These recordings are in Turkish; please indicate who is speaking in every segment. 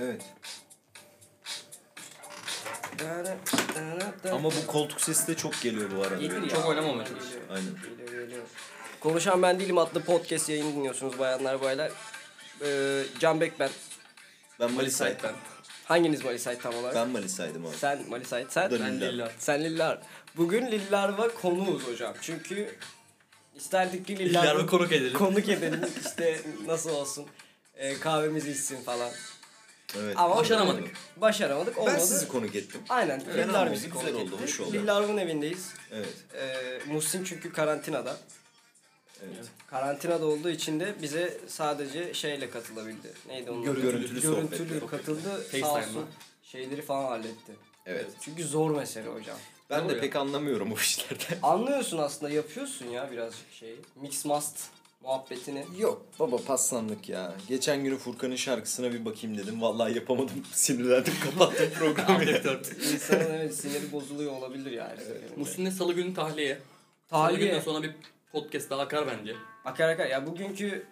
Speaker 1: Evet.
Speaker 2: Ama bu koltuk sesi de çok geliyor bu arada.
Speaker 3: Gelir ya.
Speaker 4: Çok oynamamaya
Speaker 3: Geliyor,
Speaker 4: çalış.
Speaker 2: Aynen.
Speaker 3: Geliyor geliyor.
Speaker 1: Konuşan Ben Değilim adlı podcast yayını dinliyorsunuz bayanlar baylar. Ee, Can Bekben.
Speaker 2: Ben Malisay.
Speaker 4: Malisayt ben.
Speaker 1: Hanginiz Malisay tam olarak?
Speaker 2: Ben Malisay'dım abi.
Speaker 1: Sen Malisay. Sen?
Speaker 2: Bu da
Speaker 4: Ben
Speaker 2: Lillar.
Speaker 4: Lillar.
Speaker 1: Sen Lillar. Bugün Lillar'la konuğuz hocam. Çünkü isterdik ki
Speaker 4: Lillar'ı
Speaker 1: Lillar'la
Speaker 4: konuk edelim.
Speaker 1: konuk edelim. işte nasıl olsun. Ee, kahvemizi içsin falan.
Speaker 2: Evet.
Speaker 1: Ama
Speaker 4: Başaramadık.
Speaker 1: Başaramadık. Olmadı.
Speaker 2: Ben sizi konuk ettim.
Speaker 1: Aynen.
Speaker 2: Fena
Speaker 1: Lillar
Speaker 2: olmadı,
Speaker 1: bizi konuk
Speaker 2: güzel oldu,
Speaker 1: etti.
Speaker 2: hoş oldu.
Speaker 1: Lillar'ın evindeyiz.
Speaker 2: Evet.
Speaker 1: Ee, Muhsin çünkü karantinada.
Speaker 2: Evet.
Speaker 1: Karantinada olduğu için de bize sadece şeyle katılabildi. Neydi onun? adı?
Speaker 2: Görüntülü sohbetler.
Speaker 1: Görüntülü katıldı. Sağ
Speaker 4: FaceTime'la.
Speaker 1: olsun şeyleri falan halletti.
Speaker 2: Evet.
Speaker 1: Çünkü zor mesele hocam.
Speaker 2: Ben de
Speaker 4: oluyor?
Speaker 2: pek anlamıyorum o işlerden.
Speaker 1: Anlıyorsun aslında yapıyorsun ya birazcık şeyi. Mix must muhabbetini.
Speaker 2: Yok baba paslandık ya. Geçen günü Furkan'ın şarkısına bir bakayım dedim. Vallahi yapamadım. Sinirlendim kapattım programı. ya.
Speaker 1: İnsanın evet siniri bozuluyor olabilir yani.
Speaker 4: Muhsin'le salı günü tahliye. Salı günden
Speaker 1: Tarihi
Speaker 4: sonra bir podcast daha akar bence.
Speaker 1: akar akar ya bugünkü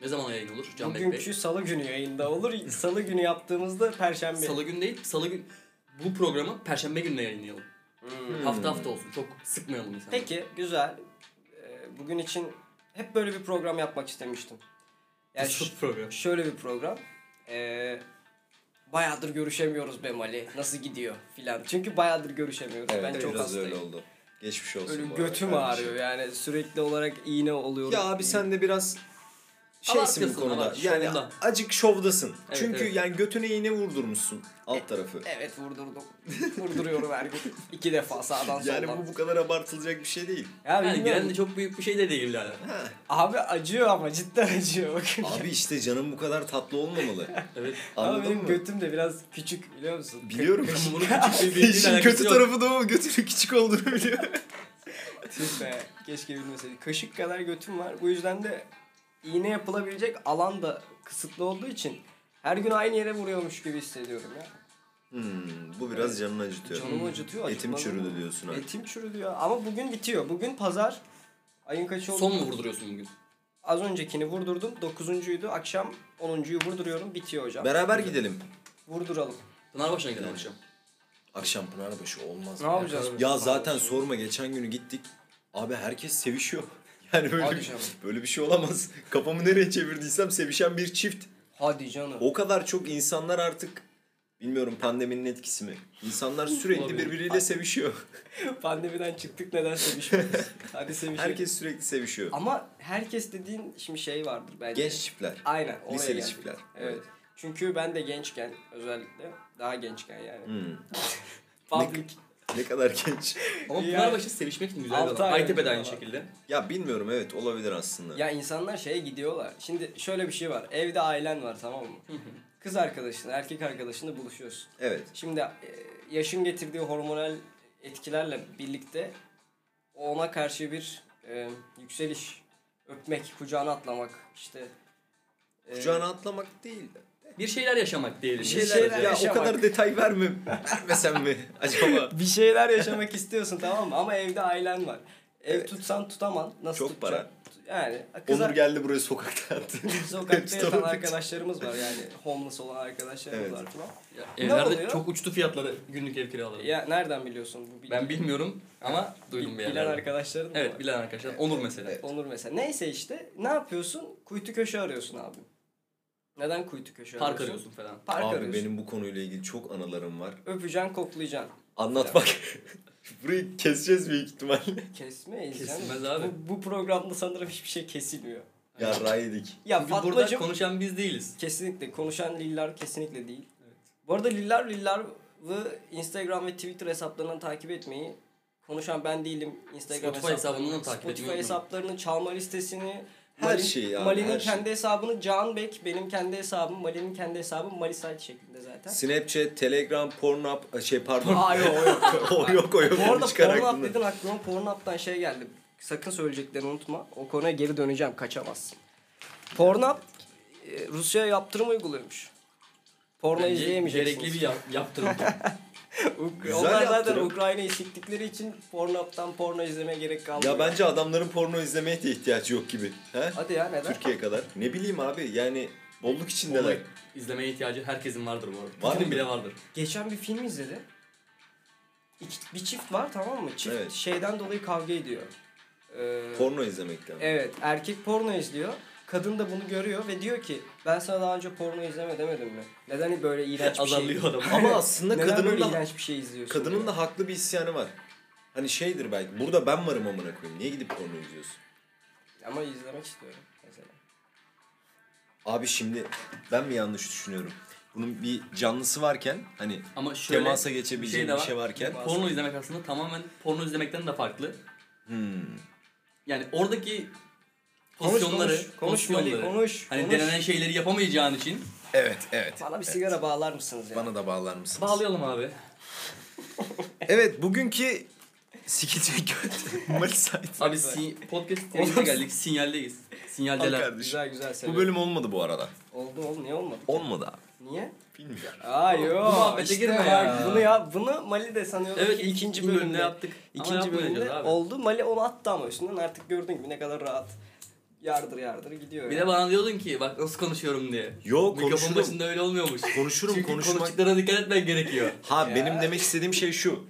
Speaker 4: Ne zaman yayın olur Can Bek Bey?
Speaker 1: bugünkü salı günü yayında olur. salı günü yaptığımızda perşembe.
Speaker 4: Salı günü değil, salı gün bu programı perşembe gününe yayınlayalım. Hafta hafta olsun. Çok sıkmayalım insanları.
Speaker 1: Hmm. Peki güzel. Ee, Bugün için hep böyle bir program yapmak istemiştim. Yani
Speaker 4: Nasıl
Speaker 1: ş-
Speaker 4: program.
Speaker 1: şöyle bir program. Ee, bayağıdır görüşemiyoruz be Mali. Nasıl gidiyor filan. Çünkü bayağıdır görüşemiyoruz.
Speaker 2: Evet,
Speaker 1: ben çok
Speaker 2: biraz
Speaker 1: hastayım.
Speaker 2: öyle oldu. Geçmiş olsun.
Speaker 1: Böyle
Speaker 2: bu arada
Speaker 1: götüm
Speaker 2: kardeşim.
Speaker 1: ağrıyor yani sürekli olarak iğne oluyorum.
Speaker 2: Ya abi sen de biraz şeysin bu
Speaker 4: Abartıyorsun,
Speaker 2: konuda.
Speaker 4: abart,
Speaker 2: Yani
Speaker 4: şovda.
Speaker 2: acık şovdasın.
Speaker 4: Evet,
Speaker 2: Çünkü
Speaker 4: evet.
Speaker 2: yani götüne iğne vurdurmuşsun
Speaker 1: E,
Speaker 2: alt tarafı.
Speaker 1: Evet vurdurdum. Vurduruyorum her gün. İki defa sağdan soldan.
Speaker 2: Yani bu bu kadar abartılacak bir şey değil.
Speaker 1: Ya
Speaker 4: Yani
Speaker 1: bilmiyorum.
Speaker 4: gelen de çok büyük bir şey de değil yani.
Speaker 1: Abi acıyor ama cidden acıyor bakın.
Speaker 2: Abi işte canım bu kadar tatlı olmamalı.
Speaker 4: Evet.
Speaker 1: Ama
Speaker 2: Anladın
Speaker 1: benim
Speaker 2: mı?
Speaker 1: götüm de biraz küçük biliyor musun?
Speaker 2: Biliyorum.
Speaker 4: Bunun küçük bir bilgiyle
Speaker 2: İşin
Speaker 4: alakası
Speaker 2: kötü
Speaker 4: yok.
Speaker 2: tarafı da o götünün küçük olduğunu biliyor.
Speaker 1: Tüh be, keşke bilmeseydik. Kaşık kadar götüm var. Bu yüzden de iğne yapılabilecek alan da kısıtlı olduğu için her gün aynı yere vuruyormuş gibi hissediyorum ya.
Speaker 2: Hmm, bu biraz canını acıtıyor.
Speaker 1: Canımı acıtıyor.
Speaker 2: Etim
Speaker 1: acıtmadı mı?
Speaker 2: çürüdü diyorsun abi.
Speaker 1: Etim çürüdü ya. Ama bugün bitiyor. Bugün pazar. Ayın kaçı oldu?
Speaker 4: Son mu vurduruyorsun bugün?
Speaker 1: Az öncekini vurdurdum. Dokuzuncuydu. Akşam onuncuyu vurduruyorum. Bitiyor hocam.
Speaker 2: Beraber gidelim.
Speaker 1: Vurduralım.
Speaker 4: Pınarbaşı'na gidelim akşam.
Speaker 2: Akşam Pınarbaşı olmaz.
Speaker 1: Ne
Speaker 2: mı?
Speaker 1: yapacağız?
Speaker 2: Ya zaten sorma geçen günü gittik. Abi herkes sevişiyor. Yani böyle
Speaker 1: Hadi
Speaker 2: bir,
Speaker 1: canım.
Speaker 2: böyle bir şey olamaz. Kafamı nereye çevirdiysem sevişen bir çift.
Speaker 1: Hadi canım.
Speaker 2: O kadar çok insanlar artık bilmiyorum pandeminin etkisi mi? İnsanlar sürekli
Speaker 4: Olabilir.
Speaker 2: birbiriyle sevişiyor.
Speaker 1: Pandemiden çıktık neden sevişmiyoruz? Hadi sevişelim.
Speaker 2: Herkes sürekli sevişiyor.
Speaker 1: Ama herkes dediğin şimdi şey vardır bence.
Speaker 2: Genç çiftler.
Speaker 1: Aynen. oraya
Speaker 2: Liseli
Speaker 1: geldik.
Speaker 2: çiftler.
Speaker 1: Evet. Çünkü ben de gençken özellikle daha gençken yani.
Speaker 2: Hmm.
Speaker 1: Public.
Speaker 2: Ne kadar genç.
Speaker 4: Ama
Speaker 1: Yani-
Speaker 4: Pınarbaşı sevişmek için güzel bir
Speaker 1: Altı
Speaker 4: alan.
Speaker 1: ay
Speaker 4: Aytepe de
Speaker 1: önce
Speaker 4: aynı
Speaker 1: falan.
Speaker 4: şekilde.
Speaker 2: Ya bilmiyorum evet olabilir aslında.
Speaker 1: Ya insanlar şeye gidiyorlar. Şimdi şöyle bir şey var. Evde ailen var tamam mı? Kız arkadaşınla, erkek arkadaşınla buluşuyorsun.
Speaker 2: Evet.
Speaker 1: Şimdi e, yaşın getirdiği hormonal etkilerle birlikte ona karşı bir e, yükseliş, öpmek, kucağına atlamak işte. e,
Speaker 2: Kucağına atlamak değil.
Speaker 4: Bir şeyler yaşamak diyelim. Bir
Speaker 2: şeyler,
Speaker 1: şeyler
Speaker 2: ya
Speaker 1: yaşamak.
Speaker 2: o kadar detay verme. Vermesem mi acaba?
Speaker 1: bir şeyler yaşamak istiyorsun tamam mı? Ama evde ailen var. Ev
Speaker 2: Evet.
Speaker 1: tutsan tutaman. Nasıl
Speaker 2: Çok
Speaker 1: tutacaksın? Yani kız
Speaker 2: Onur geldi buraya sokakta attı.
Speaker 1: sokakta yatan
Speaker 2: Tamam.
Speaker 1: arkadaşlarımız var yani. Homeless olan arkadaşlarımız
Speaker 2: Evet.
Speaker 1: var falan.
Speaker 4: Ya,
Speaker 1: Ne
Speaker 4: evlerde
Speaker 1: oluyor?
Speaker 4: çok uçtu fiyatları günlük ev kiraları.
Speaker 1: Ya nereden biliyorsun bu bilgi?
Speaker 4: Ben bilmiyorum ama duydum bir
Speaker 1: Bilen
Speaker 4: yerlerden.
Speaker 1: arkadaşların da
Speaker 4: Evet
Speaker 1: var.
Speaker 4: bilen arkadaşlar. Onur mesela.
Speaker 1: Onur mesela. Neyse işte ne yapıyorsun? Kuytu köşe arıyorsun abi. Neden kuytu köşe
Speaker 4: Park
Speaker 1: arıyorsun?
Speaker 4: arıyorsun falan.
Speaker 1: Park
Speaker 2: Abi
Speaker 1: arıyorsun.
Speaker 2: benim bu konuyla ilgili çok anılarım var.
Speaker 1: Öpeceksin, koklayacaksın.
Speaker 2: Anlat bak. Burayı keseceğiz büyük ihtimalle.
Speaker 1: Kesmeyiz
Speaker 4: Kesilmez
Speaker 1: canım.
Speaker 4: abi.
Speaker 1: Bu, bu programda sanırım hiçbir şey kesilmiyor.
Speaker 2: Ya raydik.
Speaker 1: Ya
Speaker 4: Çünkü burada
Speaker 1: Fatmacığım
Speaker 4: konuşan biz değiliz.
Speaker 1: Kesinlikle. Konuşan Lillar kesinlikle değil. Bu arada Lillar Lillar'ı Instagram ve Twitter hesaplarından takip etmeyi, konuşan ben değilim Instagram
Speaker 4: Spotify hesabından da takip etmeyi
Speaker 1: Spotify
Speaker 4: unutmayın.
Speaker 1: hesaplarını, çalma listesini,
Speaker 2: Her
Speaker 1: Malin-
Speaker 2: şeyi abi,
Speaker 1: Malin'in
Speaker 2: her
Speaker 1: kendi hesabını Can Bek, benim kendi hesabım, Malin'in kendi hesabı Malisite şeklinde zaten.
Speaker 2: Snapchat, Telegram, Pornhub, şey pardon.
Speaker 1: Aa, yok, o yok.
Speaker 2: o yok o yok.
Speaker 1: Bu arada
Speaker 2: Çıkar
Speaker 1: Pornhub
Speaker 2: aklımdan.
Speaker 1: dedin aklıma Pornhub'dan şey geldi. Sakın söyleyeceklerini unutma. O konuya geri döneceğim. Kaçamazsın. Pornhub e, Rusya'ya yaptırım uyguluyormuş. Porno
Speaker 4: Bence
Speaker 1: izleyemeyeceksiniz.
Speaker 4: Gerekli bir yap yaptırım.
Speaker 1: Uk-
Speaker 2: Güzel
Speaker 1: Onlar zaten
Speaker 2: yaptırım.
Speaker 1: Ukrayna'yı siktikleri için Pornhub'dan porno izlemeye gerek kalmıyor.
Speaker 2: Ya bence adamların porno izlemeye de ihtiyacı yok gibi. He?
Speaker 1: Hadi ya neden?
Speaker 2: Türkiye kadar. Ne bileyim abi yani Bolluk içindeler.
Speaker 4: Onu izlemeye ihtiyacı herkesin vardır bu arada.
Speaker 2: Var
Speaker 4: Var
Speaker 2: mı?
Speaker 4: bile vardır.
Speaker 1: Geçen bir film izledim. İki- bir çift var tamam mı? Çift
Speaker 2: Evet.
Speaker 1: şeyden dolayı kavga ediyor. Ee,
Speaker 2: Porno izlemekten.
Speaker 1: Evet erkek porno izliyor. Kadın da bunu görüyor ve diyor ki ben sana daha önce porno izleme demedim mi? Neden böyle iğrenç bir şey?
Speaker 4: Azarlıyor adam.
Speaker 2: Ama aslında
Speaker 1: Neden böyle
Speaker 2: kadının da
Speaker 1: iğrenç bir şey izliyorsun?
Speaker 2: kadının
Speaker 1: diyor.
Speaker 2: da haklı bir isyanı var. Hani şeydir belki. Burada ben varım amına koyayım. Niye gidip porno izliyorsun?
Speaker 1: Ama izlemek istiyorum mesela.
Speaker 2: Abi şimdi ben mi yanlış düşünüyorum? Bunun bir canlısı varken hani
Speaker 4: Ama şöyle
Speaker 2: temasa geçebileceğim
Speaker 4: şey de
Speaker 2: bir şey
Speaker 4: var.
Speaker 2: varken
Speaker 4: porno izlemek aslında tamamen porno izlemekten de farklı.
Speaker 2: Hmm.
Speaker 4: Yani oradaki
Speaker 1: Konuş
Speaker 4: pozisyonları,
Speaker 1: konuş konuş
Speaker 4: pozisyonları,
Speaker 1: Melih, konuş.
Speaker 4: hani
Speaker 1: konuş.
Speaker 4: denenen şeyleri yapamayacağın için
Speaker 2: Evet, evet.
Speaker 1: Bana bir sigara bağlar mısınız ya?
Speaker 2: Bana da bağlar mısınız?
Speaker 4: bağlayalım abi.
Speaker 2: Evet, bugünkü sikecek göt maç saydı.
Speaker 4: Abi si podcast yayınına geldik. Sinyaldeyiz.
Speaker 2: Al
Speaker 4: Sinyaldeler.
Speaker 2: kardeşim.
Speaker 1: Güzel güzel seviyorum.
Speaker 2: Bu bölüm olmadı bu arada.
Speaker 1: Oldu oğlum niye olmadı?
Speaker 2: Olmadı abi.
Speaker 1: Niye?
Speaker 2: Bilmiyorum.
Speaker 1: Aa yo.
Speaker 4: Bu muhabbete girme ya.
Speaker 1: Bunu ya bunu Mali de sanıyorduk
Speaker 4: Evet
Speaker 1: ki
Speaker 4: ilk,
Speaker 1: ikinci
Speaker 4: bölümde,
Speaker 1: bölümde
Speaker 4: yaptık. Ama
Speaker 1: İkinci
Speaker 4: yapmayacağız
Speaker 1: bölümde
Speaker 4: abi.
Speaker 1: oldu. Mali onu attı ama üstünden artık gördüğün gibi ne kadar rahat. Yardır yardır gidiyor.
Speaker 4: Bir
Speaker 1: ya.
Speaker 4: de bana diyordun ki bak nasıl konuşuyorum diye.
Speaker 2: Yo,
Speaker 4: Mikrofon
Speaker 2: konuşurum.
Speaker 4: başında öyle olmuyormuş.
Speaker 2: Konuşurum,
Speaker 4: Çünkü
Speaker 2: konuşmak.
Speaker 4: konuştuklarına dikkat etmen gerekiyor.
Speaker 2: Ha
Speaker 1: Ya.
Speaker 2: benim demek istediğim şey şu.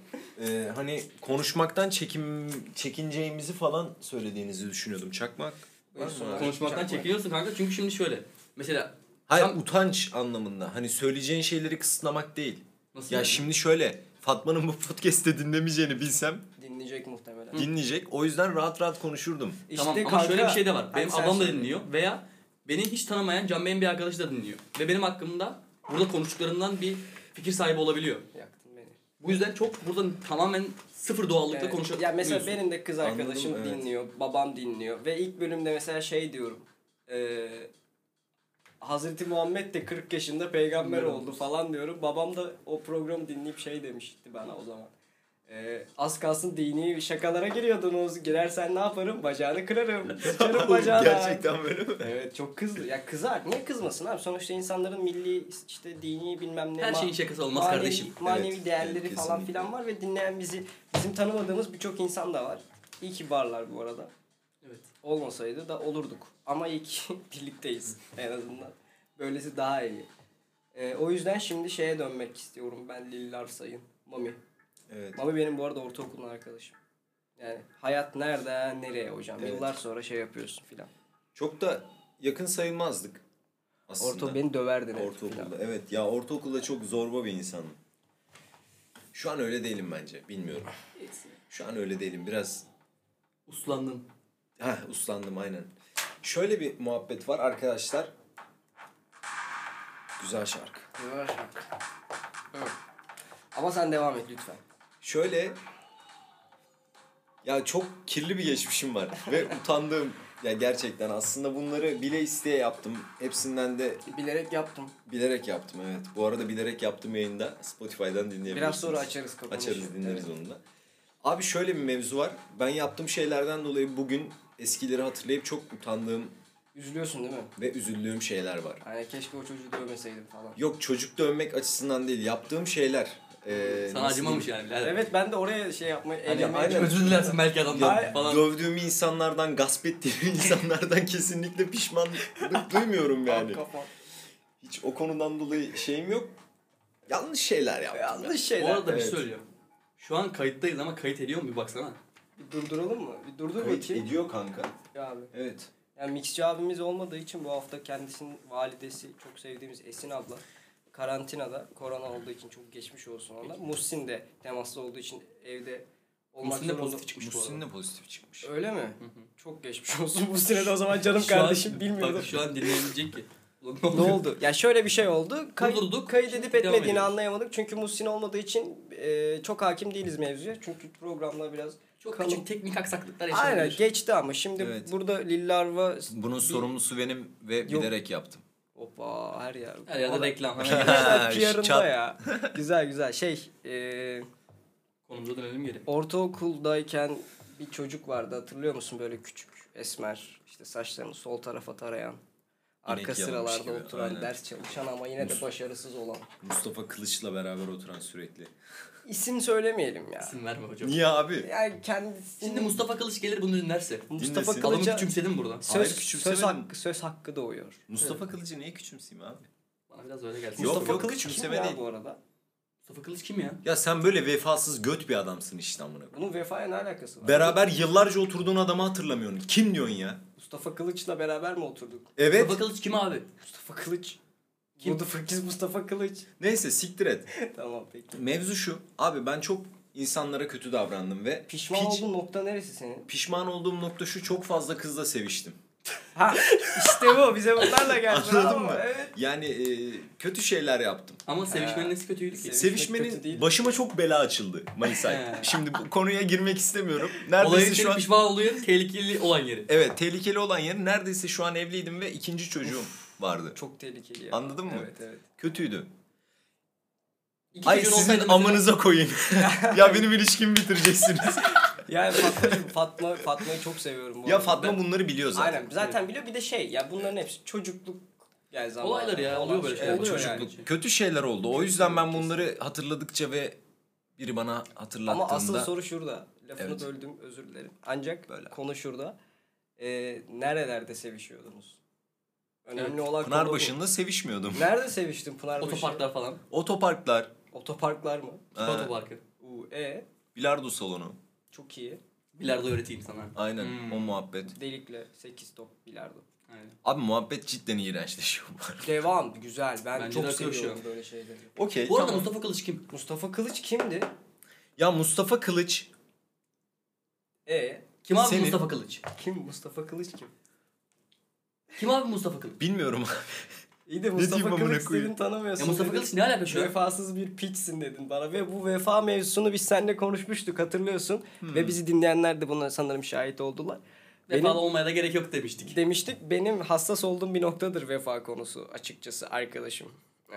Speaker 2: Ee, hani konuşmaktan çekim çekineceğimizi falan söylediğinizi düşünüyordum. Çakmak. var mı?
Speaker 1: Buyursunlar.
Speaker 4: Konuşmaktan
Speaker 1: Çakma.
Speaker 4: çekiniyorsun kanka çünkü şimdi şöyle. Mesela
Speaker 2: Hayır
Speaker 4: Tam-
Speaker 2: utanç anlamında. Hani söyleyeceğin şeyleri kısıtlamak değil.
Speaker 4: nasıl?
Speaker 2: Ya şimdi şöyle Fatma'nın bu podcast'te dinlemeyeceğini bilsem
Speaker 1: dinleyecek muhtemelen.
Speaker 2: dinleyecek. O yüzden rahat rahat konuşurdum.
Speaker 4: tamam ama
Speaker 1: kanka-
Speaker 4: şöyle bir şey de var. Benim
Speaker 1: Hadi sen
Speaker 4: ablam da
Speaker 1: söyle.
Speaker 4: dinliyor veya beni hiç tanımayan Can Bey'in bir arkadaşı da dinliyor. Ve benim hakkımda burada konuştuklarından bir fikir sahibi olabiliyor.
Speaker 1: Yaktın beni.
Speaker 4: Bu yüzden çok burada tamamen sıfır doğallıkla
Speaker 1: Evet.
Speaker 4: konuşuyorsun.
Speaker 1: Ya mesela benim de kız
Speaker 2: Anladım,
Speaker 1: arkadaşım
Speaker 2: evet.
Speaker 1: dinliyor, babam dinliyor ve ilk bölümde mesela şey diyorum. Eee Hazreti Muhammed de 40 yaşında peygamber
Speaker 4: Bilmiyorum.
Speaker 1: oldu falan diyorum. Babam da o programı dinleyip şey demişti bana o zaman. Eee az kalsın dini şakalara giriyordunuz. Girersen ne yaparım? Bacağını kırarım. Sıçarım bacağına.
Speaker 2: Gerçekten böyle mi?
Speaker 1: Evet çok kızdı. Ya kızar. Niye kızmasın abi? Sonuçta insanların milli işte dini bilmem ne
Speaker 4: Her
Speaker 1: ma-
Speaker 4: şeyin şakası olmaz
Speaker 1: manevi,
Speaker 4: kardeşim.
Speaker 1: Manevi
Speaker 2: Evet,
Speaker 1: değerleri
Speaker 2: evet,
Speaker 1: falan
Speaker 2: kesinlikle.
Speaker 1: filan var ve dinleyen bizi bizim tanımadığımız birçok insan da var. İyi ki varlar bu arada.
Speaker 4: Evet.
Speaker 1: Olmasaydı da olurduk. Ama iyi ki birlikteyiz en azından. Böylesi daha iyi. Ee, o yüzden şimdi şeye dönmek istiyorum ben Lillar Sayın. Mami.
Speaker 2: Evet.
Speaker 1: Mami benim bu arada ortaokulun arkadaşım. Yani hayat nereden nereye hocam?
Speaker 2: Evet.
Speaker 1: Yıllar sonra şey yapıyorsun filan.
Speaker 2: Çok da yakın sayılmazdık. Aslında.
Speaker 1: Orta beni döverdin. hep filan.
Speaker 2: Ortaokulda. Evet ya ortaokulda çok zorba bir insanım. Şu an öyle değilim bence. Bilmiyorum. Şu an öyle değilim. Biraz
Speaker 4: Uslandın.
Speaker 2: Heh, uslandım aynen. Şöyle bir muhabbet var arkadaşlar. Güzel şarkı.
Speaker 1: Ama sen devam et lütfen.
Speaker 2: Şöyle ya çok kirli bir geçmişim var ve utandığım ya gerçekten aslında bunları bile isteye yaptım. Hepsinden de
Speaker 1: Bilerek yaptım.
Speaker 2: bilerek yaptım evet. Bu arada bilerek yaptım yayında Spotify'dan dinleyebilirsiniz.
Speaker 1: Biraz sonra açarız kapanışı.
Speaker 2: Açarız dinleriz
Speaker 1: Evet.
Speaker 2: onu da. Abi şöyle bir mevzu var. Ben yaptığım şeylerden dolayı bugün eskileri hatırlayıp çok utandığım
Speaker 1: Üzülüyorsun değil mi?
Speaker 2: ve üzüldüğüm şeyler var.
Speaker 1: Yani keşke o çocuğu dövmeseydim falan.
Speaker 2: Yok çocuk dövmek açısından değil. Yaptığım şeyler. Ee,
Speaker 4: Sana
Speaker 2: nasıl
Speaker 4: acımamış
Speaker 2: diyeyim?
Speaker 4: yani birader.
Speaker 1: Evet ben de oraya şey yapmayı
Speaker 2: Hani
Speaker 1: elemeye
Speaker 2: aynen.
Speaker 1: çalıştım.
Speaker 4: Özür dilersin belki adamdan
Speaker 1: Ay-
Speaker 4: falan.
Speaker 2: Dövdüğüm insanlardan, gasp ettiğim insanlardan kesinlikle pişmanlık duymuyorum yani.
Speaker 1: Kafam.
Speaker 2: Hiç o konudan dolayı şeyim yok. Yanlış şeyler yaptım. ya.
Speaker 1: Yanlış
Speaker 4: Bu
Speaker 1: şeyler.
Speaker 4: arada bir
Speaker 2: Evet.
Speaker 4: söylüyorum. Şu an kayıttayız ama kayıt ediyor mu bir baksana.
Speaker 1: Bir durduralım mı? Bir durdur
Speaker 2: Kayıt
Speaker 1: bakayım.
Speaker 2: ediyor kanka.
Speaker 1: Ya abi.
Speaker 2: Evet.
Speaker 1: Yani mixçi abimiz olmadığı için bu hafta kendisinin validesi çok sevdiğimiz Esin abla karantinada korona olduğu için çok geçmiş olsun ona. Muhsin de temaslı olduğu için evde olmak
Speaker 4: Muhsin de
Speaker 1: zorunda-
Speaker 4: pozitif çıkmış bu arada.
Speaker 2: de pozitif çıkmış.
Speaker 1: Öyle mi? Çok geçmiş olsun. Bu sürede o zaman canım
Speaker 4: Şu an-
Speaker 1: kardeşim bilmiyordum.
Speaker 4: Bak şu an dinleyebilecek ki. Ulan
Speaker 1: ne oldu? Ya şöyle bir şey oldu. Kay-
Speaker 4: Durdurduk.
Speaker 1: Kayıt edip
Speaker 4: Devam
Speaker 1: etmediğini
Speaker 4: ediyoruz.
Speaker 1: anlayamadık. Çünkü Muhsin olmadığı için e, çok hakim değiliz mevzuya. Çünkü programla biraz...
Speaker 4: Çok
Speaker 1: kalın-
Speaker 4: küçük teknik aksaklıklar yaşanabilir.
Speaker 1: Aynen geçti ama şimdi
Speaker 2: Evet.
Speaker 1: burada Lillarva...
Speaker 2: Bunun sorumlusu benim ve bilerek yaptım.
Speaker 1: Hoppa her yer.
Speaker 4: Her yerde
Speaker 1: Valla-
Speaker 4: reklam.
Speaker 1: Arkadaşlar
Speaker 2: Şşş,
Speaker 1: PR'ında
Speaker 2: çat.
Speaker 1: ya. Güzel güzel. Şey e,
Speaker 4: Konumuza dönelim geri.
Speaker 1: ortaokuldayken bir çocuk vardı hatırlıyor musun böyle küçük esmer işte saçlarını sol tarafa tarayan Arka
Speaker 2: yalamış
Speaker 1: sıralarda
Speaker 2: gibi,
Speaker 1: oturan,
Speaker 2: aynen.
Speaker 1: ders çalışan ama yine de başarısız olan.
Speaker 2: Mustafa Kılıç'la beraber oturan sürekli.
Speaker 1: İsim söylemeyelim ya.
Speaker 4: İsim verme hocam.
Speaker 2: Niye abi?
Speaker 1: Yani kendisi...
Speaker 4: Şimdi Mustafa Kılıç gelir bunu dinlerse.
Speaker 1: Mustafa
Speaker 2: dinlesin.
Speaker 4: Adamı
Speaker 1: Kılıç'a
Speaker 4: küçümsedim burada.
Speaker 2: Hayır,
Speaker 1: söz, söz,
Speaker 2: küçümsemedim.
Speaker 1: hakkı, söz hakkı doğuyor.
Speaker 2: Mustafa Kılıç'ı niye küçümseyim abi?
Speaker 4: Bana biraz öyle geldi.
Speaker 2: Yok,
Speaker 1: Mustafa
Speaker 2: yok,
Speaker 1: Kılıç kim
Speaker 2: küçümseme
Speaker 1: ya
Speaker 2: değil.
Speaker 1: bu arada?
Speaker 4: Mustafa Kılıç kim ya?
Speaker 2: Ya sen böyle vefasız göt bir adamsın işte amına koyayım.
Speaker 1: Bunun vefaya ne alakası var?
Speaker 2: Beraber yıllarca oturduğun adamı hatırlamıyorsun. Kim diyorsun ya?
Speaker 1: Mustafa Kılıç'la beraber mi oturduk?
Speaker 2: Evet.
Speaker 4: Mustafa Kılıç kim abi?
Speaker 1: Mustafa Kılıç.
Speaker 4: Kim?
Speaker 1: Kim? Fakir Mustafa Kılıç.
Speaker 2: Neyse siktir et.
Speaker 1: tamam peki.
Speaker 2: Mevzu şu. Abi ben çok insanlara kötü davrandım ve
Speaker 1: Pişman
Speaker 2: piç-
Speaker 1: olduğun nokta neresi senin?
Speaker 2: pişman olduğum nokta şu çok fazla kızla seviştim.
Speaker 1: Ha işte bu bize bunlarla geldi.
Speaker 2: Anladın
Speaker 1: Bravo,
Speaker 2: mı?
Speaker 1: Evet.
Speaker 2: Yani e, kötü şeyler yaptım.
Speaker 4: Ama sevişmenin
Speaker 1: Ha.
Speaker 4: nesi kötüydü ki?
Speaker 1: Sev- Sevişmek kötü
Speaker 2: Sevişmenin
Speaker 1: değil.
Speaker 2: başıma çok bela açıldı Mayıs ayı.
Speaker 4: He.
Speaker 2: Şimdi bu konuya girmek istemiyorum.
Speaker 4: Olayın
Speaker 2: Neredeyse şu
Speaker 4: senin
Speaker 2: an
Speaker 4: pişman olduğu yer, tehlikeli olan yeri.
Speaker 2: Evet, tehlikeli olan yer neredeyse şu an evliydim ve ikinci çocuğum vardı.
Speaker 1: Çok tehlikeli ya.
Speaker 2: Anladın mı?
Speaker 1: Evet evet.
Speaker 2: Kötüydü.
Speaker 4: İki
Speaker 2: Ay
Speaker 4: çocuğun
Speaker 2: sizin
Speaker 4: olsaydı mesela-
Speaker 2: amınıza koyun. ya benim ilişkimi bitireceksiniz.
Speaker 1: Yani Fatma, Fatma, Fatma'yı çok seviyorum. Bu
Speaker 2: ya
Speaker 1: arada.
Speaker 2: Fatma bunları biliyor zaten.
Speaker 1: Aynen zaten biliyor bir de şey ya bunların hepsi çocukluk yani zamanı.
Speaker 4: Olaylar ya, oluyor böyle şeyler.
Speaker 1: Oluyor yani.
Speaker 2: Çocukluk. Kötü şeyler oldu. O yüzden ben bunları hatırladıkça ve biri bana
Speaker 1: Ama asıl
Speaker 2: hatırlattığında
Speaker 1: soru şurada. Lafını
Speaker 2: Evet.
Speaker 1: böldüm özür dilerim. Ancak
Speaker 2: Böyle.
Speaker 1: konu şurada. Ee, nerelerde sevişiyordunuz? Önemli olan konu bu.
Speaker 2: Pınarbaşı'nda sevişmiyordum.
Speaker 1: Nerede seviştin Pınarbaşı?
Speaker 4: Otoparklar falan.
Speaker 2: Otoparklar,
Speaker 1: Otoparklar mı?
Speaker 2: Ee.
Speaker 4: Kipa otoparkı.
Speaker 1: U e
Speaker 2: bilardo salonu.
Speaker 1: çok iyi.
Speaker 4: Bilardo öğreteyim sana.
Speaker 2: Aynen
Speaker 4: Hmm.
Speaker 2: o muhabbet.
Speaker 1: Delikle 8 top bilardo.
Speaker 4: Aynen.
Speaker 2: Abi muhabbet cidden iğrençleşiyor. bu arada.
Speaker 1: Devam güzel. Ben
Speaker 4: Bence de
Speaker 1: çok
Speaker 4: akıyor şu
Speaker 1: seviyorum
Speaker 4: an.
Speaker 1: böyle şeyleri.
Speaker 2: Okey
Speaker 4: Bu arada
Speaker 2: tamam.
Speaker 4: Mustafa Kılıç kim?
Speaker 1: Mustafa Kılıç kimdi?
Speaker 2: Ya Mustafa Kılıç
Speaker 1: E
Speaker 4: Kim abi
Speaker 2: Senin-
Speaker 4: Mustafa Kılıç?
Speaker 1: kim Mustafa Kılıç kim?
Speaker 4: Kim abi Mustafa Kılıç?
Speaker 2: bilmiyorum
Speaker 1: İyi de
Speaker 2: diyeyim
Speaker 1: Mustafa
Speaker 2: amına
Speaker 1: Kılıç
Speaker 2: koyayım?
Speaker 1: dedin tanımıyorsun.
Speaker 4: Ya Mustafa
Speaker 1: dedin.
Speaker 4: Kılıç ne alaka şu an?
Speaker 1: Vefasız bir piçsin dedin bana ve bu vefa mevzusunu biz seninle konuşmuştuk hatırlıyorsun.
Speaker 4: Hmm.
Speaker 1: Ve bizi dinleyenler de buna sanırım şahit oldular. Benim,
Speaker 4: Vefalı olmaya da gerek yok demiştik.
Speaker 1: demiştik benim hassas olduğum bir noktadır vefa konusu açıkçası arkadaşım.
Speaker 4: Hmm.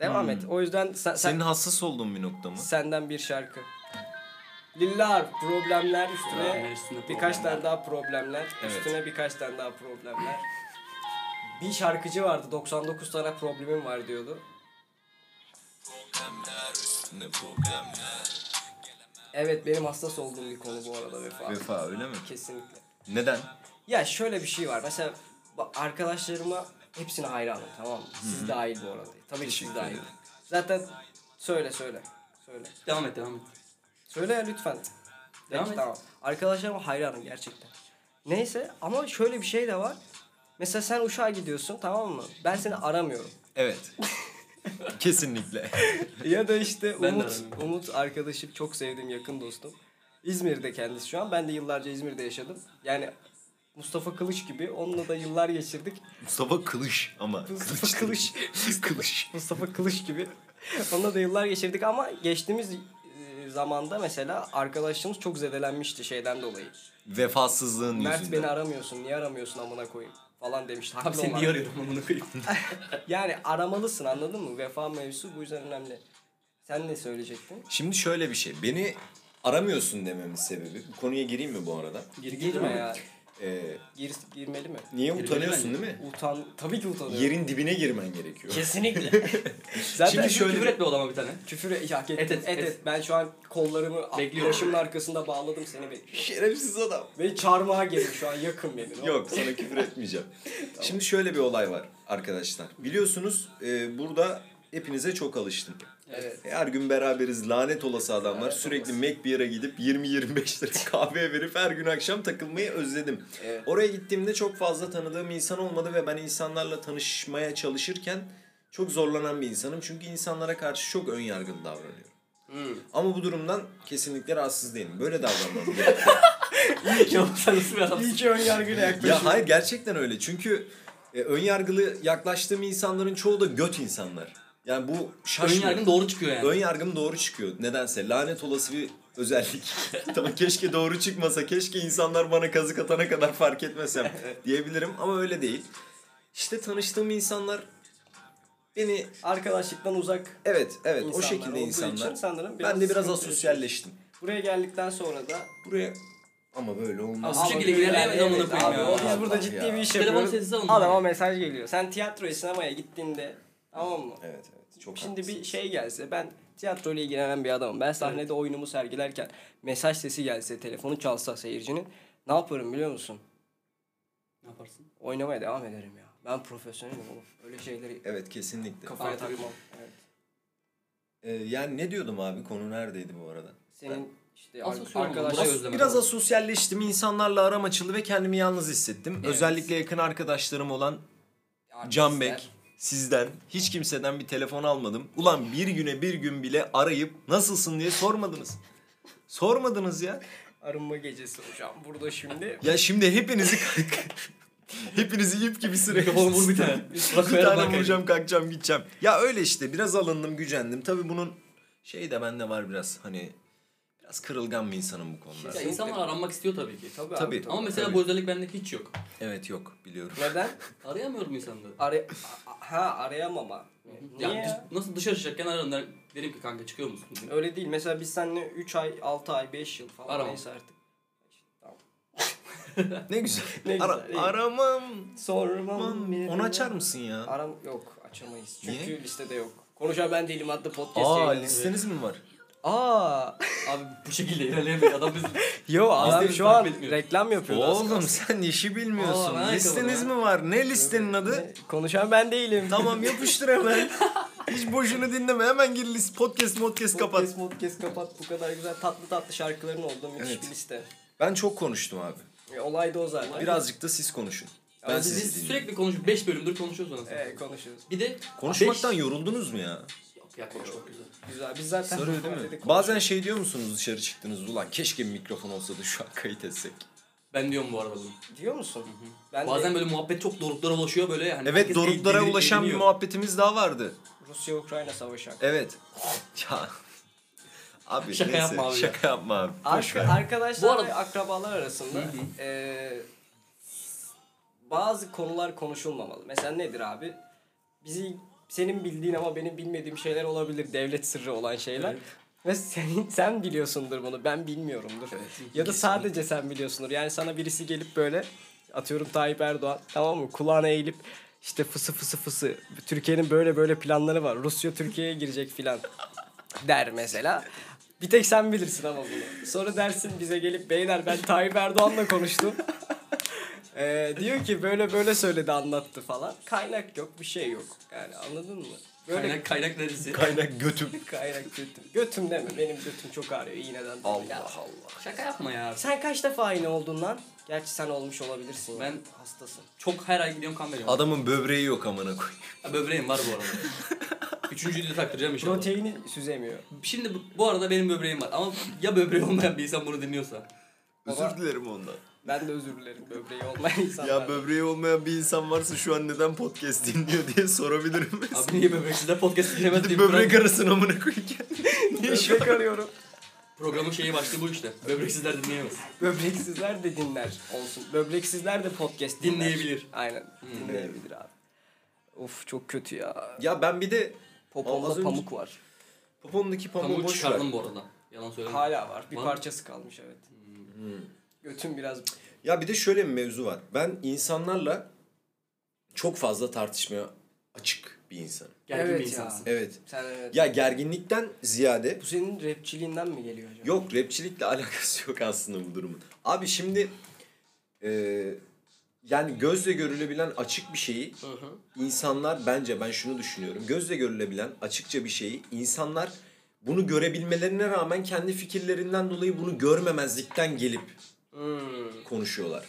Speaker 1: Devam et. O yüzden sen, sen-
Speaker 2: Senin hassas olduğun bir nokta mı?
Speaker 1: senden bir şarkı. Lillar problemler üstüne
Speaker 4: Problemler üstüne
Speaker 1: birkaç
Speaker 4: problemler.
Speaker 1: tane daha problemler
Speaker 2: Evet.
Speaker 1: üstüne birkaç tane daha problemler. Bir şarkıcı vardı 99 tane problemim var diyordu. Evet benim hassas olduğum bir konu bu arada vefa.
Speaker 2: Vefa öyle mi?
Speaker 1: Kesinlikle.
Speaker 2: Neden?
Speaker 1: Ya şöyle bir şey var. Mesela ba- arkadaşlarıma hepsine hayranım tamam mı? Siz dahil bu arada. Tabii ki siz
Speaker 2: Teşekkür
Speaker 1: dahil.
Speaker 2: ederim.
Speaker 1: Zaten söyle söyle. Söyle.
Speaker 4: Devam et devam et.
Speaker 1: Söyle ya lütfen.
Speaker 4: Devam
Speaker 1: Peki,
Speaker 4: et.
Speaker 1: tamam. Arkadaşlarım hayranım gerçekten. Neyse ama şöyle bir şey de var. Mesela sen uşağa gidiyorsun tamam mı? Ben seni aramıyorum.
Speaker 2: Evet. Kesinlikle.
Speaker 1: ya da işte
Speaker 4: Ben de
Speaker 1: Umut,
Speaker 4: aramıyorum.
Speaker 1: Umut arkadaşım çok sevdiğim yakın dostum. İzmir'de kendisi şu an. Ben de yıllarca İzmir'de yaşadım. Yani Mustafa Kılıç gibi onunla da yıllar geçirdik.
Speaker 2: Mustafa Kılıç ama.
Speaker 1: Mustafa Kılıç.
Speaker 2: değil. Kılıç.
Speaker 1: Mustafa Kılıç gibi. Onunla da yıllar geçirdik ama geçtiğimiz e, zamanda mesela arkadaşlığımız çok zedelenmişti şeyden dolayı.
Speaker 2: Vefasızlığın
Speaker 1: Mert
Speaker 2: yüzünden.
Speaker 1: beni aramıyorsun. Niye aramıyorsun amına koyayım? falan demişti.
Speaker 4: Abi
Speaker 1: Haklı
Speaker 4: seni
Speaker 1: olan.
Speaker 4: niye arıyorum amına koyayım?
Speaker 1: Yani aramalısın anladın mı? Vefa mevzusu bu yüzden önemli. Sen ne söyleyecektin?
Speaker 2: Şimdi şöyle bir şey. Beni aramıyorsun dememin sebebi. Bu konuya gireyim mi bu arada?
Speaker 1: Gir, girme ya.
Speaker 2: Ee,
Speaker 1: Gir, girmeli mi?
Speaker 2: niye
Speaker 4: Girmeli
Speaker 2: utanıyorsun
Speaker 4: bence.
Speaker 2: değil mi?
Speaker 1: Utan, tabii ki utanıyorum.
Speaker 2: Yerin dibine girmen gerekiyor.
Speaker 1: Kesinlikle.
Speaker 2: Şimdi
Speaker 1: Zaten
Speaker 4: Şimdi
Speaker 2: şöyle-
Speaker 4: şöyle küfür etme odama bir tane.
Speaker 1: küfür et, hak ettim.
Speaker 4: Et, et,
Speaker 1: et,
Speaker 4: et.
Speaker 1: et. Ben şu an kollarımı
Speaker 4: Bekliyorum.
Speaker 1: başımın arkasında bağladım seni bekliyorum.
Speaker 2: Şerefsiz adam.
Speaker 1: Beni çarmıha gelin şu an yakın beni.
Speaker 2: Yok sana küfür etmeyeceğim. Şimdi şöyle bir olay var arkadaşlar. Biliyorsunuz e, burada hepinize çok alıştım. E,
Speaker 1: Evet.
Speaker 2: Her gün beraberiz lanet olası adamlar.
Speaker 1: Lanet
Speaker 2: Sürekli
Speaker 1: olası.
Speaker 2: Mac bir yere gidip 20-25 lira kahve verip her gün akşam takılmayı özledim.
Speaker 1: Evet.
Speaker 2: Oraya gittiğimde çok fazla tanıdığım insan olmadı ve ben insanlarla tanışmaya çalışırken çok zorlanan bir insanım. Çünkü insanlara karşı çok ön yargılı davranıyorum.
Speaker 1: Hmm.
Speaker 2: Ama bu durumdan kesinlikle rahatsız değilim. Böyle davranmam gerekiyor.
Speaker 4: Ya sen nasıl bir adamsın?
Speaker 1: İyi ki ön yargıyla yaklaşıyorsun.
Speaker 2: ya hayır gerçekten öyle. Çünkü e, ön yargılı yaklaştığım insanların çoğu da göt insanlar. Yani bu
Speaker 4: Ön
Speaker 2: şaşmıyor.
Speaker 4: yargın doğru çıkıyor yani.
Speaker 2: Ön yargım doğru çıkıyor. Nedense lanet olası bir özellik. tamam keşke doğru çıkmasa. Keşke insanlar bana kazık atana kadar fark etmesem diyebilirim ama öyle değil. İşte tanıştığım insanlar beni
Speaker 1: Arkadaşlıktan uzak
Speaker 2: evet evet o
Speaker 1: insanlar
Speaker 2: şekilde
Speaker 1: olduğu
Speaker 2: insanlar.
Speaker 1: için
Speaker 2: ben
Speaker 1: sanırım
Speaker 2: de biraz
Speaker 1: sıkıntı yaşıyorsun.
Speaker 2: asosyalleştim.
Speaker 1: Buraya geldikten sonra da
Speaker 2: Buraya Ama böyle olmaz.
Speaker 4: Ama şekilde ilerleyemedi amına
Speaker 1: Evet
Speaker 4: koyayım
Speaker 1: abi,
Speaker 4: ya.
Speaker 1: o Biz
Speaker 2: Allah
Speaker 1: burada
Speaker 2: Allah
Speaker 1: ciddi
Speaker 2: ya.
Speaker 1: bir iş
Speaker 4: Telefonu
Speaker 1: yapıyoruz.
Speaker 4: sessize alın.
Speaker 1: Adama mesaj geliyor. Sen tiyatroya sinemaya gittiğinde tamam mı?
Speaker 2: Evet evet. Çok
Speaker 1: Şimdi
Speaker 2: haklısın.
Speaker 1: bir şey gelse ben tiyatroyla ilgilenen bir adamım. Ben sahnede oyunumu sergilerken mesaj sesi gelse, telefonu çalsa seyircinin ne yaparım biliyor musun?
Speaker 4: Ne yaparsın?
Speaker 1: Oynamaya devam ederim ya. Ben profesyonelim oğlum. Öyle şeyleri
Speaker 2: Evet kesinlikle.
Speaker 1: kafaya
Speaker 4: Aa, tabii.
Speaker 1: takmam. Evet.
Speaker 2: Ee, yani ne diyordum abi? Konu neredeydi bu arada?
Speaker 1: Senin işte
Speaker 4: Asıl
Speaker 1: ar-
Speaker 4: sorun bu.
Speaker 1: arkadaşlar
Speaker 4: Burası-
Speaker 1: özlem.
Speaker 4: özlem
Speaker 2: Biraz
Speaker 4: adamı.
Speaker 2: asosyalleştim. insanlarla aram açıldı ve kendimi yalnız hissettim. Özellikle yakın arkadaşlarım olan Can Bek, sizden, hiç kimseden bir telefon almadım. Ulan bir güne bir gün bile arayıp nasılsın diye sormadınız. Sormadınız ya.
Speaker 1: Arınma gecesi hocam burada şimdi.
Speaker 2: Ya şimdi hepinizi hepinizi ip gibi sürekli
Speaker 4: Mikrofonu vur bir tane.
Speaker 2: bir tane vuracağım kalkacağım gideceğim. Ya öyle işte biraz alındım gücendim. Tabii bunun şey de bende var biraz hani biraz kırılgan bir insanım bu konularda.
Speaker 4: Ya
Speaker 1: Şey-
Speaker 4: insanlar aranmak istiyor tabii ki.
Speaker 1: Tabii,
Speaker 2: Tabii.
Speaker 1: abi, tabii.
Speaker 4: Ama mesela
Speaker 2: Tabii.
Speaker 4: bu özellik bende hiç yok.
Speaker 2: Evet yok biliyorum.
Speaker 1: Neden?
Speaker 4: Arayamıyorum insanları.
Speaker 1: Ara- a- ha arayamama. Niye?
Speaker 4: Ya
Speaker 1: ya?
Speaker 4: dış- nasıl dışarı çıkacakken ararım der, derim ki kanka çıkıyor musun?
Speaker 1: Öyle değil. Mesela biz seninle 3 ay, 6 ay, 5 yıl falan
Speaker 4: Arama.
Speaker 1: neyse artık. Tamam.
Speaker 2: Ne güzel.
Speaker 1: Ne güzel,
Speaker 2: Ara-
Speaker 1: iyi.
Speaker 2: aramam.
Speaker 1: Sormam. bir-
Speaker 2: Onu açar mısın ya?
Speaker 1: Aram yok açamayız. Çünkü
Speaker 2: Niye?
Speaker 1: listede yok. Konuşan ben değilim adlı podcast
Speaker 2: Aa
Speaker 1: yayınlanıyor.
Speaker 2: listeniz mi var?
Speaker 1: Aa.
Speaker 4: Abi bu şekilde ilerleyemeyiz. Adam biz
Speaker 1: Yo adam
Speaker 4: Listemiz
Speaker 1: şu an
Speaker 4: takip etmiyor.
Speaker 1: reklam yapıyor. az
Speaker 2: Oğlum
Speaker 1: kalsın.
Speaker 2: sen işi bilmiyorsun.
Speaker 4: Aa, ben
Speaker 2: listeniz
Speaker 4: ayakkabı
Speaker 2: mi var? Ne listenin adı?
Speaker 1: Konuşan ben değilim.
Speaker 2: tamam yapıştır hemen. Hiç boşuna dinleme. Hemen gir list podcast podcast kapat.
Speaker 1: Podcast, podcast kapat. Bu kadar güzel tatlı tatlı şarkıların oldu. Müthiş
Speaker 2: Evet.
Speaker 1: bir liste.
Speaker 2: Ben çok konuştum abi.
Speaker 1: E, olay da o zaten.
Speaker 2: Birazcık da siz konuşun. Ben
Speaker 1: Ama
Speaker 2: sizi
Speaker 4: biz
Speaker 2: dinleyeyim.
Speaker 4: sürekli konuşuyoruz. 5 bölümdür konuşuyoruz anasını.
Speaker 1: Evet konuşuyoruz.
Speaker 4: Bir de
Speaker 2: Konuşmaktan yoruldunuz mu ya?
Speaker 4: beş... Yok ya konuşmak güzel.
Speaker 1: Güzel. Biz zaten
Speaker 2: Sarıyor değil mi?
Speaker 1: Dedik,
Speaker 2: Bazen şey diyor musunuz dışarı çıktınız ulan keşke bir mikrofon olsa da şu an kayıt etsek.
Speaker 4: Ben diyorum bu arada bunu.
Speaker 1: diyor musun? Ben
Speaker 4: Bazen
Speaker 1: de
Speaker 4: böyle muhabbet çok doruklara ulaşıyor böyle hani yani.
Speaker 2: Evet doruklara ulaşan bir muhabbetimiz daha vardı.
Speaker 1: Rusya Ukrayna savaşı hakkında.
Speaker 2: Evet. ya. Abi
Speaker 4: Şaka
Speaker 2: neyse,
Speaker 4: yapma abi ya.
Speaker 2: Şaka yapma abi. Boş
Speaker 1: Arka,
Speaker 2: ver.
Speaker 1: arkadaşlar
Speaker 4: Bu arada-
Speaker 1: ve akrabalar arasında eee, bazı konular konuşulmamalı. Mesela nedir abi? Bizi senin bildiğin ama benim bilmediğim şeyler olabilir. Devlet sırrı olan şeyler.
Speaker 4: Evet.
Speaker 1: Ve senin, sen biliyorsundur bunu. Ben bilmiyorumdur. ya da sadece sen biliyorsundur. Yani sana birisi gelip böyle atıyorum Tayyip Erdoğan tamam mı? Kulağına eğilip işte fısı fısı fısı. Türkiye'nin böyle böyle planları var. Rusya Türkiye'ye girecek filan der mesela. Bir tek sen bilirsin ama bunu. Sonra dersin bize gelip beyler ben Tayyip Erdoğan'la konuştum. Ee, diyor ki böyle böyle söyledi anlattı falan. Kaynak yok bir şey yok. Yani anladın mı? Böyle kaynak,
Speaker 4: Kaynak, kaynak neresi?
Speaker 2: Kaynak götüm.
Speaker 1: götüm. Götüm deme benim götüm çok ağrıyor iğneden. dolayı. Ya,
Speaker 2: Allah Allah.
Speaker 4: Şaka yapma ya.
Speaker 1: Sen kaç defa iğne oldun lan? Gerçi sen olmuş olabilirsin.
Speaker 4: Ben-
Speaker 1: hastasın.
Speaker 4: Çok her ay gidiyorum kan veriyorum.
Speaker 2: Adamın böbreği yok amına koyayım.
Speaker 4: Ha, böbreğim var bu arada. Üçüncüyü de taktıracağım inşallah.
Speaker 1: Proteini süzemiyor.
Speaker 4: Şimdi bu, bu arada benim böbreğim var ama ya böbreği olmayan bir insan bunu dinliyorsa.
Speaker 1: Baba-
Speaker 2: Özür dilerim ondan.
Speaker 1: Ben de özür dilerim böbreği olmayan insanlar.
Speaker 2: Ya böbreği olmayan bir insan varsa şu an neden podcast dinliyor diye sorabilirim.
Speaker 4: Abi niye böbreksizler podcast dinlemez diye
Speaker 2: Gidip
Speaker 4: bir
Speaker 2: böbrek
Speaker 4: program-
Speaker 2: arasın amına koyayım. Niye şu
Speaker 1: Böbrek arıyorum.
Speaker 4: programın şeyi başlığı bu işte. Böbreksizler dinleyemez.
Speaker 1: Böbreksizler de dinler olsun. Böbreksizler de podcast dinler.
Speaker 4: Dinleyebilir.
Speaker 1: Aynen.
Speaker 2: Hmm.
Speaker 1: Dinleyebilir abi. Of çok kötü ya.
Speaker 2: Ya ben bir de
Speaker 1: Popomda
Speaker 2: Az önce-
Speaker 1: pamuk var.
Speaker 2: popondaki pamuğu
Speaker 4: Pamuğu
Speaker 2: boş ver.
Speaker 4: çıkardım bu arada. Yalan söyleme.
Speaker 1: Hala var. Bir
Speaker 4: Var mı?
Speaker 1: parçası kalmış evet.
Speaker 2: Hmm.
Speaker 1: Götüm biraz
Speaker 2: Ya bir de şöyle bir mevzu var. Ben insanlarla çok fazla tartışmaya açık bir insanım.
Speaker 4: Gergin
Speaker 1: Evet
Speaker 4: bir
Speaker 1: ya.
Speaker 4: insansın.
Speaker 2: Evet.
Speaker 1: sen evet.
Speaker 2: Ya gerginlikten ziyade
Speaker 1: Bu senin rapçiliğinden mi geliyor acaba?
Speaker 2: yok rapçilikle alakası yok aslında bu durumun. Abi şimdi eee, yani gözle görülebilen açık bir şeyi
Speaker 1: Hı hı.
Speaker 2: insanlar bence ben şunu düşünüyorum. Gözle görülebilen açıkça bir şeyi insanlar bunu görebilmelerine rağmen kendi fikirlerinden dolayı bunu görmemezlikten gelip
Speaker 1: Hmm.
Speaker 2: konuşuyorlar.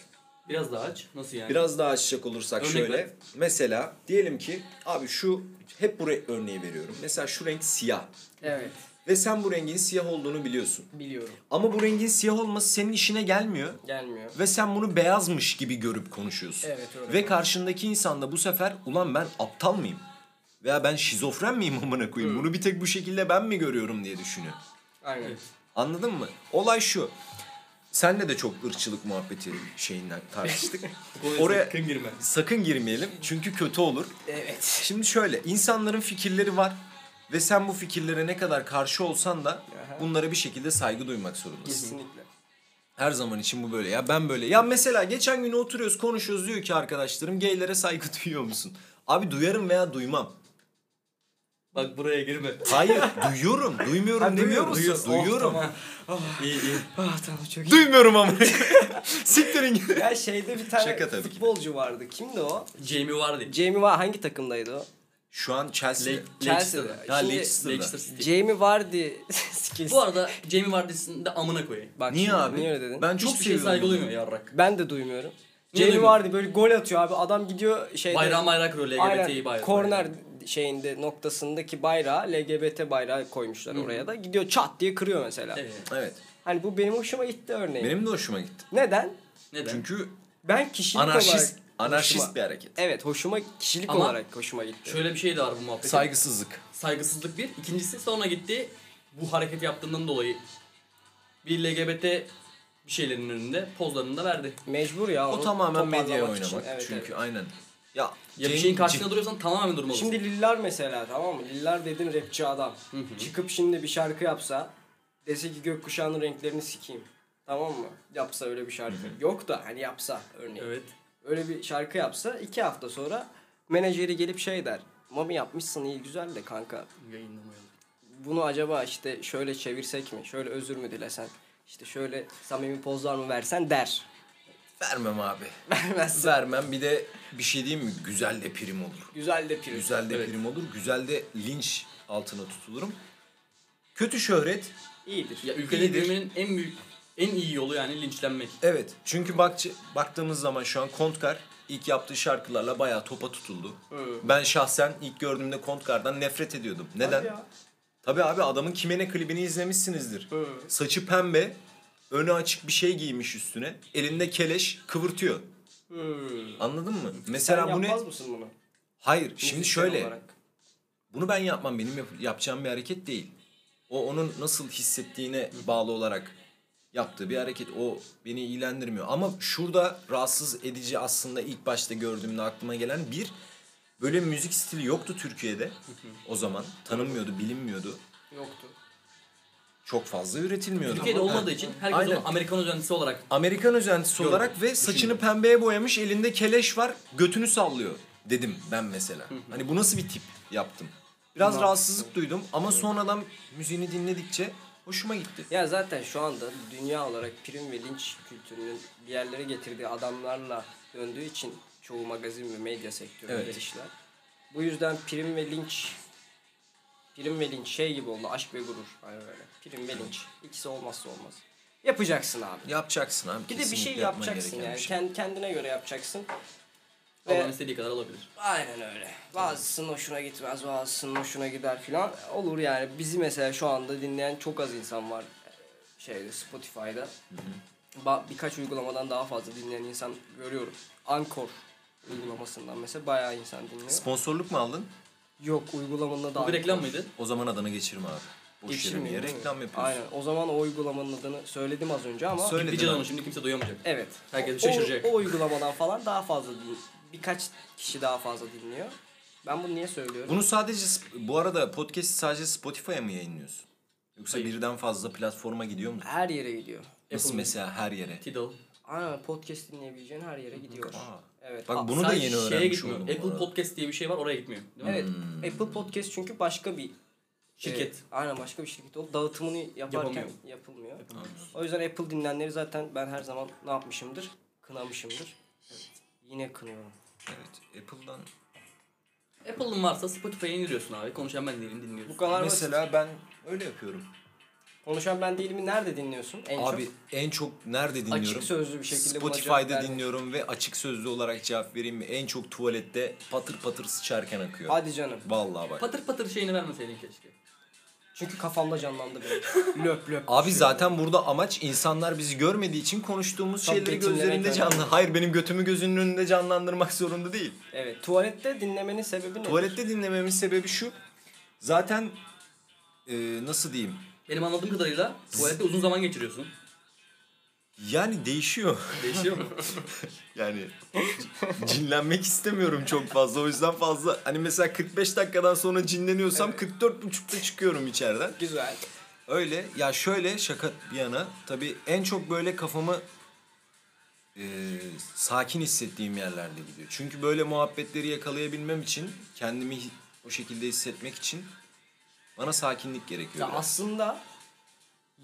Speaker 4: Biraz daha aç. Nasıl yani?
Speaker 2: Biraz daha açacak olursak
Speaker 4: Örnek
Speaker 2: şöyle.
Speaker 4: ver.
Speaker 2: Mesela diyelim ki abi şu hep buraya örneği veriyorum. Mesela şu renk siyah
Speaker 1: Evet.
Speaker 2: ve sen bu rengin siyah olduğunu biliyorsun.
Speaker 1: Biliyorum.
Speaker 2: Ama bu rengin siyah olması senin işine gelmiyor
Speaker 1: Gelmiyor.
Speaker 2: ve sen bunu beyazmış gibi görüp konuşuyorsun.
Speaker 1: Evet, öyle.
Speaker 2: Ve karşındaki insan da bu sefer ulan ben aptal mıyım? Veya ben şizofren miyim amına
Speaker 4: Hmm.
Speaker 2: koyayım? Bunu bir tek bu şekilde ben mi görüyorum diye düşünüyor.
Speaker 1: Aynen.
Speaker 2: Anladın mı? Olay şu. Senle de çok ırkçılık muhabbeti şeyinden tartıştık. Oraya-
Speaker 4: Oraya kın girme.
Speaker 2: Sakın girmeyelim çünkü kötü olur.
Speaker 1: Evet.
Speaker 2: Şimdi şöyle insanların fikirleri var ve sen bu fikirlere ne kadar karşı olsan da bunlara bir şekilde saygı duymak zorundasın.
Speaker 1: Kesinlikle.
Speaker 2: Her zaman için bu böyle ya ben böyle. Ya mesela geçen gün oturuyoruz konuşuyoruz diyor ki arkadaşlarım geylere saygı duyuyor musun? Abi duyarım veya duymam.
Speaker 4: Bak buraya girme.
Speaker 2: Hayır duyuyorum duymuyorum
Speaker 1: Ha, duyuyor
Speaker 2: demiyorum.
Speaker 1: musun?
Speaker 2: Duyuyor-
Speaker 1: Oh,
Speaker 2: duyuyorum.
Speaker 1: tamam.
Speaker 4: İyi iyi.
Speaker 1: Ah tamam çok iyi.
Speaker 2: Duymuyorum ama. Siktirin gidin.
Speaker 1: Ya şeyde bir tane
Speaker 2: Şaka tabii ki de.
Speaker 1: futbolcu vardı. Kimdi o?
Speaker 4: Jamie Vardy.
Speaker 1: Jamie var hangi takımdaydı o?
Speaker 2: Şu an Chelsea.
Speaker 4: Le-
Speaker 1: Chelsea'da.
Speaker 4: Leicester'da.
Speaker 2: ya
Speaker 1: Şimdi
Speaker 2: Leicester'da.
Speaker 4: Leicester City.
Speaker 1: Jamie Vardy skills.
Speaker 4: Bu arada Jamie Vardy'sini de amına koyayım.
Speaker 1: Bak
Speaker 2: Niye
Speaker 1: şimdi,
Speaker 2: abi?
Speaker 1: Niye öyle dedin?
Speaker 2: Ben çok
Speaker 4: Hiçbir şey şeye
Speaker 2: seviyorum.
Speaker 4: saygı duymuyor yarrak.
Speaker 1: Ben de duymuyorum.
Speaker 4: Niye
Speaker 1: Jamie
Speaker 4: duymuyorsun?
Speaker 1: Vardy böyle gol atıyor abi. Adam gidiyor şeyde.
Speaker 4: Bayrağı bayrak kırıyor LGBT'yi bayrağı.
Speaker 1: Korner şeyinde noktasındaki bayrağı LGBT bayrağı koymuşlar oraya da. Gidiyor çat diye kırıyor mesela.
Speaker 4: Evet.
Speaker 2: Evet.
Speaker 1: Hani bu benim hoşuma gitti örneğin.
Speaker 2: Benim de hoşuma gitti.
Speaker 1: Neden?
Speaker 4: Neden?
Speaker 2: Çünkü
Speaker 1: Ben kişilik olarak
Speaker 2: anarşist anarşist
Speaker 1: hoşuma-
Speaker 2: bir hareket.
Speaker 1: Evet hoşuma kişilik
Speaker 4: Ama-
Speaker 1: olarak hoşuma gitti.
Speaker 4: Şöyle bir şey de var bu muhabbetin.
Speaker 2: Saygısızlık.
Speaker 4: Saygısızlık bir. İkincisi sonra gitti bu hareket yaptığından dolayı bir LGBT bir şeylerin önünde pozlarını da verdi.
Speaker 1: Mecbur ya.
Speaker 2: O
Speaker 1: onu
Speaker 2: tamamen medyaya
Speaker 1: toparlamak için.
Speaker 2: oynamak.
Speaker 1: Evet,
Speaker 2: Çünkü
Speaker 1: evet.
Speaker 2: aynen. Ya,
Speaker 4: Ya bir
Speaker 2: Jamie-
Speaker 4: şeyin karşısında duruyorsan tamamen durmalısın.
Speaker 1: Şimdi Lillar mesela tamam mı? Lillar dediğin rapçi adam. Çıkıp şimdi bir şarkı yapsa dese ki gökkuşağının renklerini sikeyim. Tamam mı? Yapsa öyle bir şarkı. Yok da hani yapsa örneğin.
Speaker 4: Evet.
Speaker 1: Öyle bir şarkı yapsa iki hafta sonra menajeri gelip şey der. Mami yapmışsın iyi güzel de kanka
Speaker 4: Yayınlamayalım.
Speaker 1: bunu acaba işte şöyle çevirsek mi? Şöyle özür mü dilesen? İşte şöyle samimi pozlar mı versen der.
Speaker 2: Vermem abi.
Speaker 1: Vermezse
Speaker 2: Vermem bir de bir şey diyeyim mi? Güzel de prim olur.
Speaker 1: güzel de prim.
Speaker 2: Güzel de
Speaker 4: Evet.
Speaker 2: prim olur. Güzel de linç altına tutulurum. Kötü şöhret.
Speaker 1: İyidir.
Speaker 4: Ya ülkede
Speaker 2: İyidir.
Speaker 4: büyümenin en büyük en iyi yolu yani linçlenmek.
Speaker 2: Evet. Çünkü bak, baktığımız zaman şu an Kontkar ilk yaptığı şarkılarla bayağı topa tutuldu. Ben şahsen ilk gördüğümde Kontkar'dan nefret ediyordum. Neden?
Speaker 1: Hadi ya.
Speaker 2: Tabii abi adamın Kime Ne klibini izlemişsinizdir.
Speaker 1: Hı.
Speaker 2: Saçı pembe, önü açık bir şey giymiş üstüne. Elinde keleş, kıvırtıyor. Anladın mı? Mesela
Speaker 1: Sen
Speaker 2: bu ne?
Speaker 1: yapmaz mısın bunu?
Speaker 2: Hayır, şimdi
Speaker 1: Müzisyen
Speaker 2: şöyle.
Speaker 1: olarak.
Speaker 2: Bunu ben yapmam. Benim yap- yapacağım bir hareket değil. O onun nasıl hissettiğine bağlı olarak yaptığı bir hareket. O beni ilgilendirmiyor. Ama şurada rahatsız edici aslında ilk başta gördüğümde aklıma gelen bir böyle bir müzik stili yoktu Türkiye'de o zaman. Tanınmıyordu, bilinmiyordu.
Speaker 1: Yoktu.
Speaker 2: Çok fazla üretilmiyordu.
Speaker 4: Türkiye'de
Speaker 2: Ha.
Speaker 4: olmadığı için herkes
Speaker 2: Aynen.
Speaker 4: onu Amerikan özentisi olarak
Speaker 2: Amerikan özentisi
Speaker 4: Gördüm,
Speaker 2: olarak ve saçını pembeye boyamış, elinde keleş var, götünü sallıyor dedim ben mesela. Hani bu nasıl bir tip yaptım? Biraz
Speaker 1: Mantıklı.
Speaker 2: rahatsızlık duydum ama sonradan müziğini dinledikçe hoşuma gitti.
Speaker 1: Ya zaten şu anda dünya olarak prim ve linç kültürünün bir yerlere getirdiği adamlarla döndüğü için çoğu magazin ve medya sektöründe
Speaker 2: Evet.
Speaker 1: işler. Bu yüzden prim ve linç prim ve linç şey gibi oldu aşk ve gurur. Aynen öyle. Prim ve linç. İkisi olmazsa olmaz. Yapacaksın abi.
Speaker 2: Yapacaksın abi.
Speaker 1: Bir de bir
Speaker 2: kesinlikle
Speaker 1: şey
Speaker 2: yapman
Speaker 1: yapacaksın
Speaker 2: gereken
Speaker 1: yani.
Speaker 2: bir şey.
Speaker 1: Kend- kendine göre yapacaksın. Ve-
Speaker 4: Allah'ın istediği kadar olabilir.
Speaker 1: Aynen öyle. Bazısının hoşuna gitmez, bazısının hoşuna gider filan. Olur yani. Bizi mesela şu anda dinleyen çok az insan var. e, Şeyde Spotify'da. Ba- birkaç uygulamadan daha fazla dinleyen insan görüyorum. Anchor uygulamasından mesela bayağı insan dinliyor.
Speaker 2: Sponsorluk mu aldın?
Speaker 1: Yok uygulamanın adı
Speaker 4: Bu bir
Speaker 1: Anchor.
Speaker 4: reklam mıydı?
Speaker 2: O zaman adını geçirme abi. Boş yere
Speaker 1: Geçirmeyeyim,
Speaker 2: niye
Speaker 1: değil mi?
Speaker 2: reklam yapıyorsun?
Speaker 1: Aynen. O zaman o uygulamanın adını söyledim az önce ama
Speaker 2: Söyle. Öyle
Speaker 4: Gideceğiz
Speaker 2: dedi
Speaker 4: onu şimdi kimse duyamayacak.
Speaker 1: evet.
Speaker 4: Herkes şey
Speaker 1: O-
Speaker 4: şaşıracak.
Speaker 1: O, o uygulamadan falan daha fazla din- birkaç kişi daha fazla dinliyor. Ben bunu niye söylüyorum?
Speaker 2: Bunu sadece sp- bu arada podcast sadece Spotify'a mı yayınlıyorsun? Yoksa
Speaker 4: Hayır.
Speaker 2: birden fazla platforma gidiyor mu?
Speaker 1: Her yere gidiyor.
Speaker 2: Nasıl
Speaker 4: Apple
Speaker 2: mesela her yere?
Speaker 4: Tidal.
Speaker 1: Aynen podcast dinleyebileceğin her yere gidiyor.
Speaker 2: Aa.
Speaker 1: Evet.
Speaker 2: Bak
Speaker 1: Aa,
Speaker 2: bunu da
Speaker 4: Sadece
Speaker 2: yeni
Speaker 4: şeye
Speaker 2: öğrenmiş
Speaker 4: gitmiyor.
Speaker 2: oldum. bu
Speaker 4: Apple
Speaker 2: arada.
Speaker 4: Podcast diye bir şey var oraya gitmiyor. Değil mi?
Speaker 1: Evet. Apple Podcast çünkü başka bir
Speaker 4: Şirket.
Speaker 1: Evet, aynen başka bir şirket oldu. Dağıtımını yaparken
Speaker 4: Yapamıyor.
Speaker 1: yapılmıyor. O yüzden Apple dinleyenleri zaten ben her zaman ne yapmışımdır? Kınamışımdır. Yine kınıyorum.
Speaker 2: Evet, Apple'dan
Speaker 4: Apple'ın varsa Spotify'a indiriyorsun abi. Konuşan ben değilim dinliyorsun.
Speaker 1: Bu kadar Mesela...
Speaker 2: Mesela ben öyle yapıyorum.
Speaker 1: Konuşan ben değilimi nerede dinliyorsun? En
Speaker 2: Abi
Speaker 1: çok
Speaker 2: en çok nerede dinliyorum?
Speaker 1: açık sözlü bir şekilde buna cevap
Speaker 2: Spotify'da
Speaker 1: vermek.
Speaker 2: dinliyorum ve açık sözlü olarak cevap vereyim mi? En çok tuvalette patır patır sıçarken akıyor.
Speaker 1: Hadi canım.
Speaker 2: Vallahi bak.
Speaker 4: Patır patır şeyini vermeseydin keşke.
Speaker 1: Çünkü kafamda canlandı benim. löp löp.
Speaker 2: Abi zaten burada amaç insanlar bizi görmediği için konuştuğumuz
Speaker 1: Tam
Speaker 2: şeyleri
Speaker 1: betimlemek
Speaker 2: gözlerinde
Speaker 1: önemli.
Speaker 2: canlı. Hayır benim götümü gözünün önünde canlandırmak zorunda değil.
Speaker 1: Evet. Tuvalette dinlemenin sebebi ne?
Speaker 2: Tuvalette dinlememin sebebi şu. Zaten e, nasıl diyeyim?
Speaker 4: Benim anladığım kadarıyla tuvalette uzun zaman geçiriyorsun.
Speaker 2: Yani değişiyor.
Speaker 4: Değişiyor mu?
Speaker 2: Yani cinlenmek istemiyorum çok fazla. O yüzden fazla hani mesela 45 dakikadan sonra cinleniyorsam 44 44.5'da çıkıyorum içeriden.
Speaker 1: Güzel.
Speaker 2: Öyle ya şöyle şaka bir yana tabii en çok böyle kafamı e, sakin hissettiğim yerlerde gidiyor. Çünkü böyle muhabbetleri yakalayabilmem için kendimi hi- o şekilde hissetmek için bana sakinlik gerekiyor.
Speaker 1: Ya
Speaker 2: biraz.
Speaker 1: aslında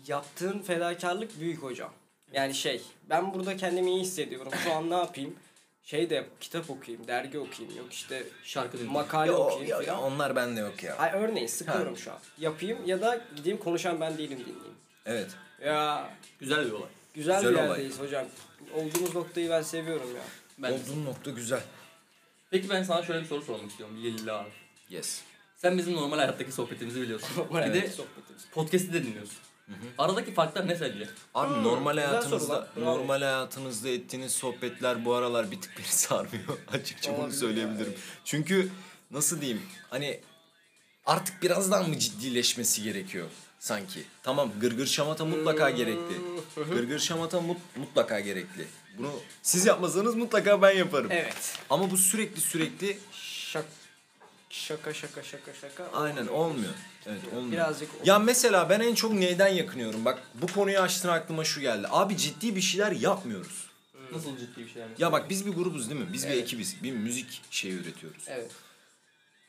Speaker 1: yaptığın fedakarlık büyük hocam. Yani şey ben burada kendimi iyi hissediyorum. Şu an ne yapayım? Şey de kitap okuyayım, dergi okuyayım. Yok işte
Speaker 4: Şarkı dinle.
Speaker 1: makale
Speaker 2: Ya o-
Speaker 1: okuyayım
Speaker 2: ya- ya
Speaker 1: falan.
Speaker 2: onlar bende yok ya.
Speaker 1: Hayır örneğin sıkıyorum şu an. Yapayım ya da gideyim konuşan ben değilim dinleyeyim.
Speaker 2: Evet.
Speaker 1: Ya
Speaker 4: Güzel bir olay.
Speaker 1: güzel,
Speaker 2: Güzel
Speaker 1: bir
Speaker 2: olay.
Speaker 1: yerdeyiz hocam. Olduğumuz noktayı ben seviyorum ya.
Speaker 4: Ben
Speaker 2: Olduğun nokta güzel.
Speaker 4: Peki ben sana şöyle bir soru sormak istiyorum. Lilla abi.
Speaker 2: Yes.
Speaker 4: Sen bizim normal hayattaki sohbetimizi biliyorsun. bir de
Speaker 1: sohbetimiz.
Speaker 4: podcast'i de dinliyorsun. Aradaki farklar ne sence?
Speaker 2: Abi normal
Speaker 1: Hmm, güzel
Speaker 2: hayatınızda
Speaker 1: soru lan. Bravo.
Speaker 2: normal hayatınızda ettiğiniz sohbetler bu aralar bir tık beni sarmıyor. Açıkça bunu
Speaker 1: Olabilir
Speaker 2: söyleyebilirim. Çünkü nasıl diyeyim? Hani artık biraz daha mı ciddileşmesi gerekiyor sanki? Tamam gırgır şamata mutlaka gerekli.
Speaker 1: Hmm.
Speaker 2: Gırgır şamata mut- mutlaka gerekli. Bunu siz yapmasanız mutlaka ben yaparım.
Speaker 1: Evet.
Speaker 2: Ama bu sürekli sürekli
Speaker 1: Şak şaka şaka şaka şaka.
Speaker 2: Aynen olmuyor. Evet olmuyor.
Speaker 1: Birazcık-
Speaker 2: Ya mesela ben en çok neyden yakınıyorum? Bak bu konuyu açtın aklıma şu geldi. Abi ciddi bir şeyler yapmıyoruz.
Speaker 4: Nasıl ciddi bir şey yani?
Speaker 2: Ya bak biz bir grubuz değil mi? Biz bir
Speaker 1: Evet.
Speaker 2: ekibiz. Bir müzik şeyi üretiyoruz.
Speaker 1: Evet.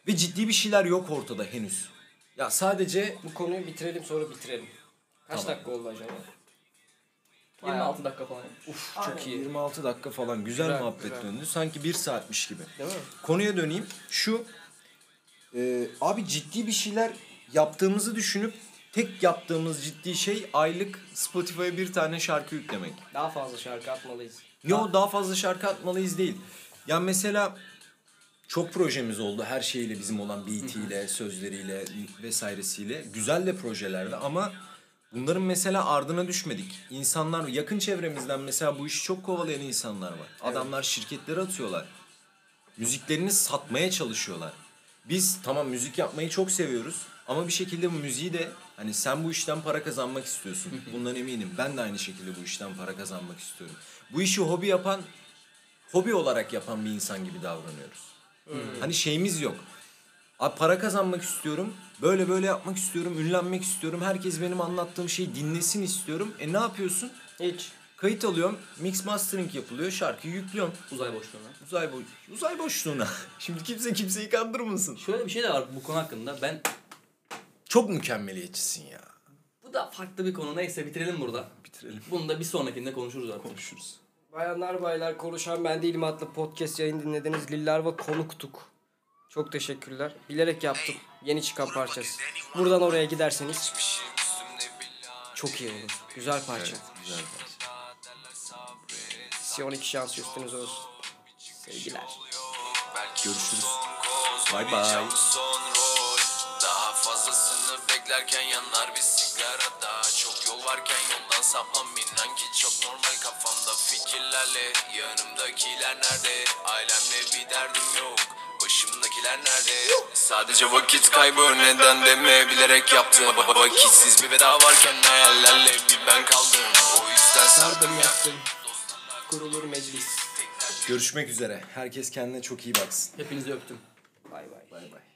Speaker 2: Ve ciddi bir şeyler yok ortada henüz. Ya sadece
Speaker 1: Bu konuyu bitirelim sonra bitirelim. Kaç
Speaker 2: Tamam.
Speaker 1: dakika oldu acaba?
Speaker 4: 26 dakika falan.
Speaker 1: Uf
Speaker 2: çok iyi. 26 dakika falan güzel,
Speaker 1: Güzel,
Speaker 2: muhabbet
Speaker 1: güzel.
Speaker 2: döndü. Sanki bir saatmiş gibi.
Speaker 1: Değil mi?
Speaker 2: Konuya döneyim. Şu e, abi ciddi bir şeyler yaptığımızı düşünüp tek yaptığımız ciddi şey aylık Spotify'a bir tane şarkı yüklemek.
Speaker 1: Daha fazla şarkı atmalıyız.
Speaker 2: Yo daha fazla şarkı atmalıyız değil. Ya mesela çok projemiz oldu her şeyle bizim olan beatiyle, sözleriyle vesairesiyle. Güzel de projelerdi ama bunların mesela ardına düşmedik. İnsanlar yakın çevremizden mesela bu işi çok kovalayan insanlar var. Adamlar şirketlere atıyorlar. Müziklerini satmaya çalışıyorlar. Biz tamam müzik yapmayı çok seviyoruz ama bir şekilde bu müziği de hani sen bu işten para kazanmak istiyorsun. Bundan eminim. Ben de aynı şekilde bu işten para kazanmak istiyorum. Bu işi hobi yapan, hobi olarak yapan bir insan gibi davranıyoruz. Hani şeyimiz yok. Abi para kazanmak istiyorum. Böyle böyle yapmak istiyorum. Ünlenmek istiyorum. Herkes benim anlattığım şeyi dinlesin istiyorum. E ne yapıyorsun?
Speaker 1: Hiç.
Speaker 2: Kayıt alıyorum. Mix mastering yapılıyor. Şarkıyı yüklüyorum.
Speaker 4: Uzay boşluğuna.
Speaker 2: Uzay, boy uzay boşluğuna. Şimdi kimse kimseyi kandırmasın.
Speaker 4: Şöyle bir şey de var bu konu hakkında. Ben
Speaker 2: Çok mükemmeliyetçisin ya.
Speaker 4: bu da farklı bir konu. Neyse bitirelim burada.
Speaker 2: Bitirelim.
Speaker 4: Bunu da bir sonrakinde konuşuruz artık.
Speaker 2: Konuşuruz.
Speaker 1: Bayanlar baylar konuşan ben değilim adlı podcast yayını dinlediniz. Lillarva konuktuk. Çok teşekkürler. Bilerek yaptım. Yeni çıkan parçası. Buradan oraya giderseniz çok iyi olur. Güzel parça.
Speaker 2: Güzel bence.
Speaker 1: Size 12 şans üstünüz olsun. Sevgiler.
Speaker 2: Görüşürüz.
Speaker 3: Bye
Speaker 2: Bye bye.
Speaker 3: bye. Son rol. Daha fazlasını beklerken yanlar bir sigara daha çok yol varken yoldan sapmam inan ki çok normal kafamda fikirlerle yanımdakiler nerede ailemle bir derdim yok başımdakiler nerede sadece vakit kaybı neden deme bilerek yaptım Va- vakitsiz bir veda varken hayallerle bir ben kaldım o yüzden sardım
Speaker 1: Yardım
Speaker 3: ya
Speaker 1: yaptım. Kurulur meclis.
Speaker 2: Görüşmek üzere. Herkes kendine çok iyi baksın.
Speaker 4: Hepinizi öptüm.
Speaker 1: Bay bay.
Speaker 2: Bay bay.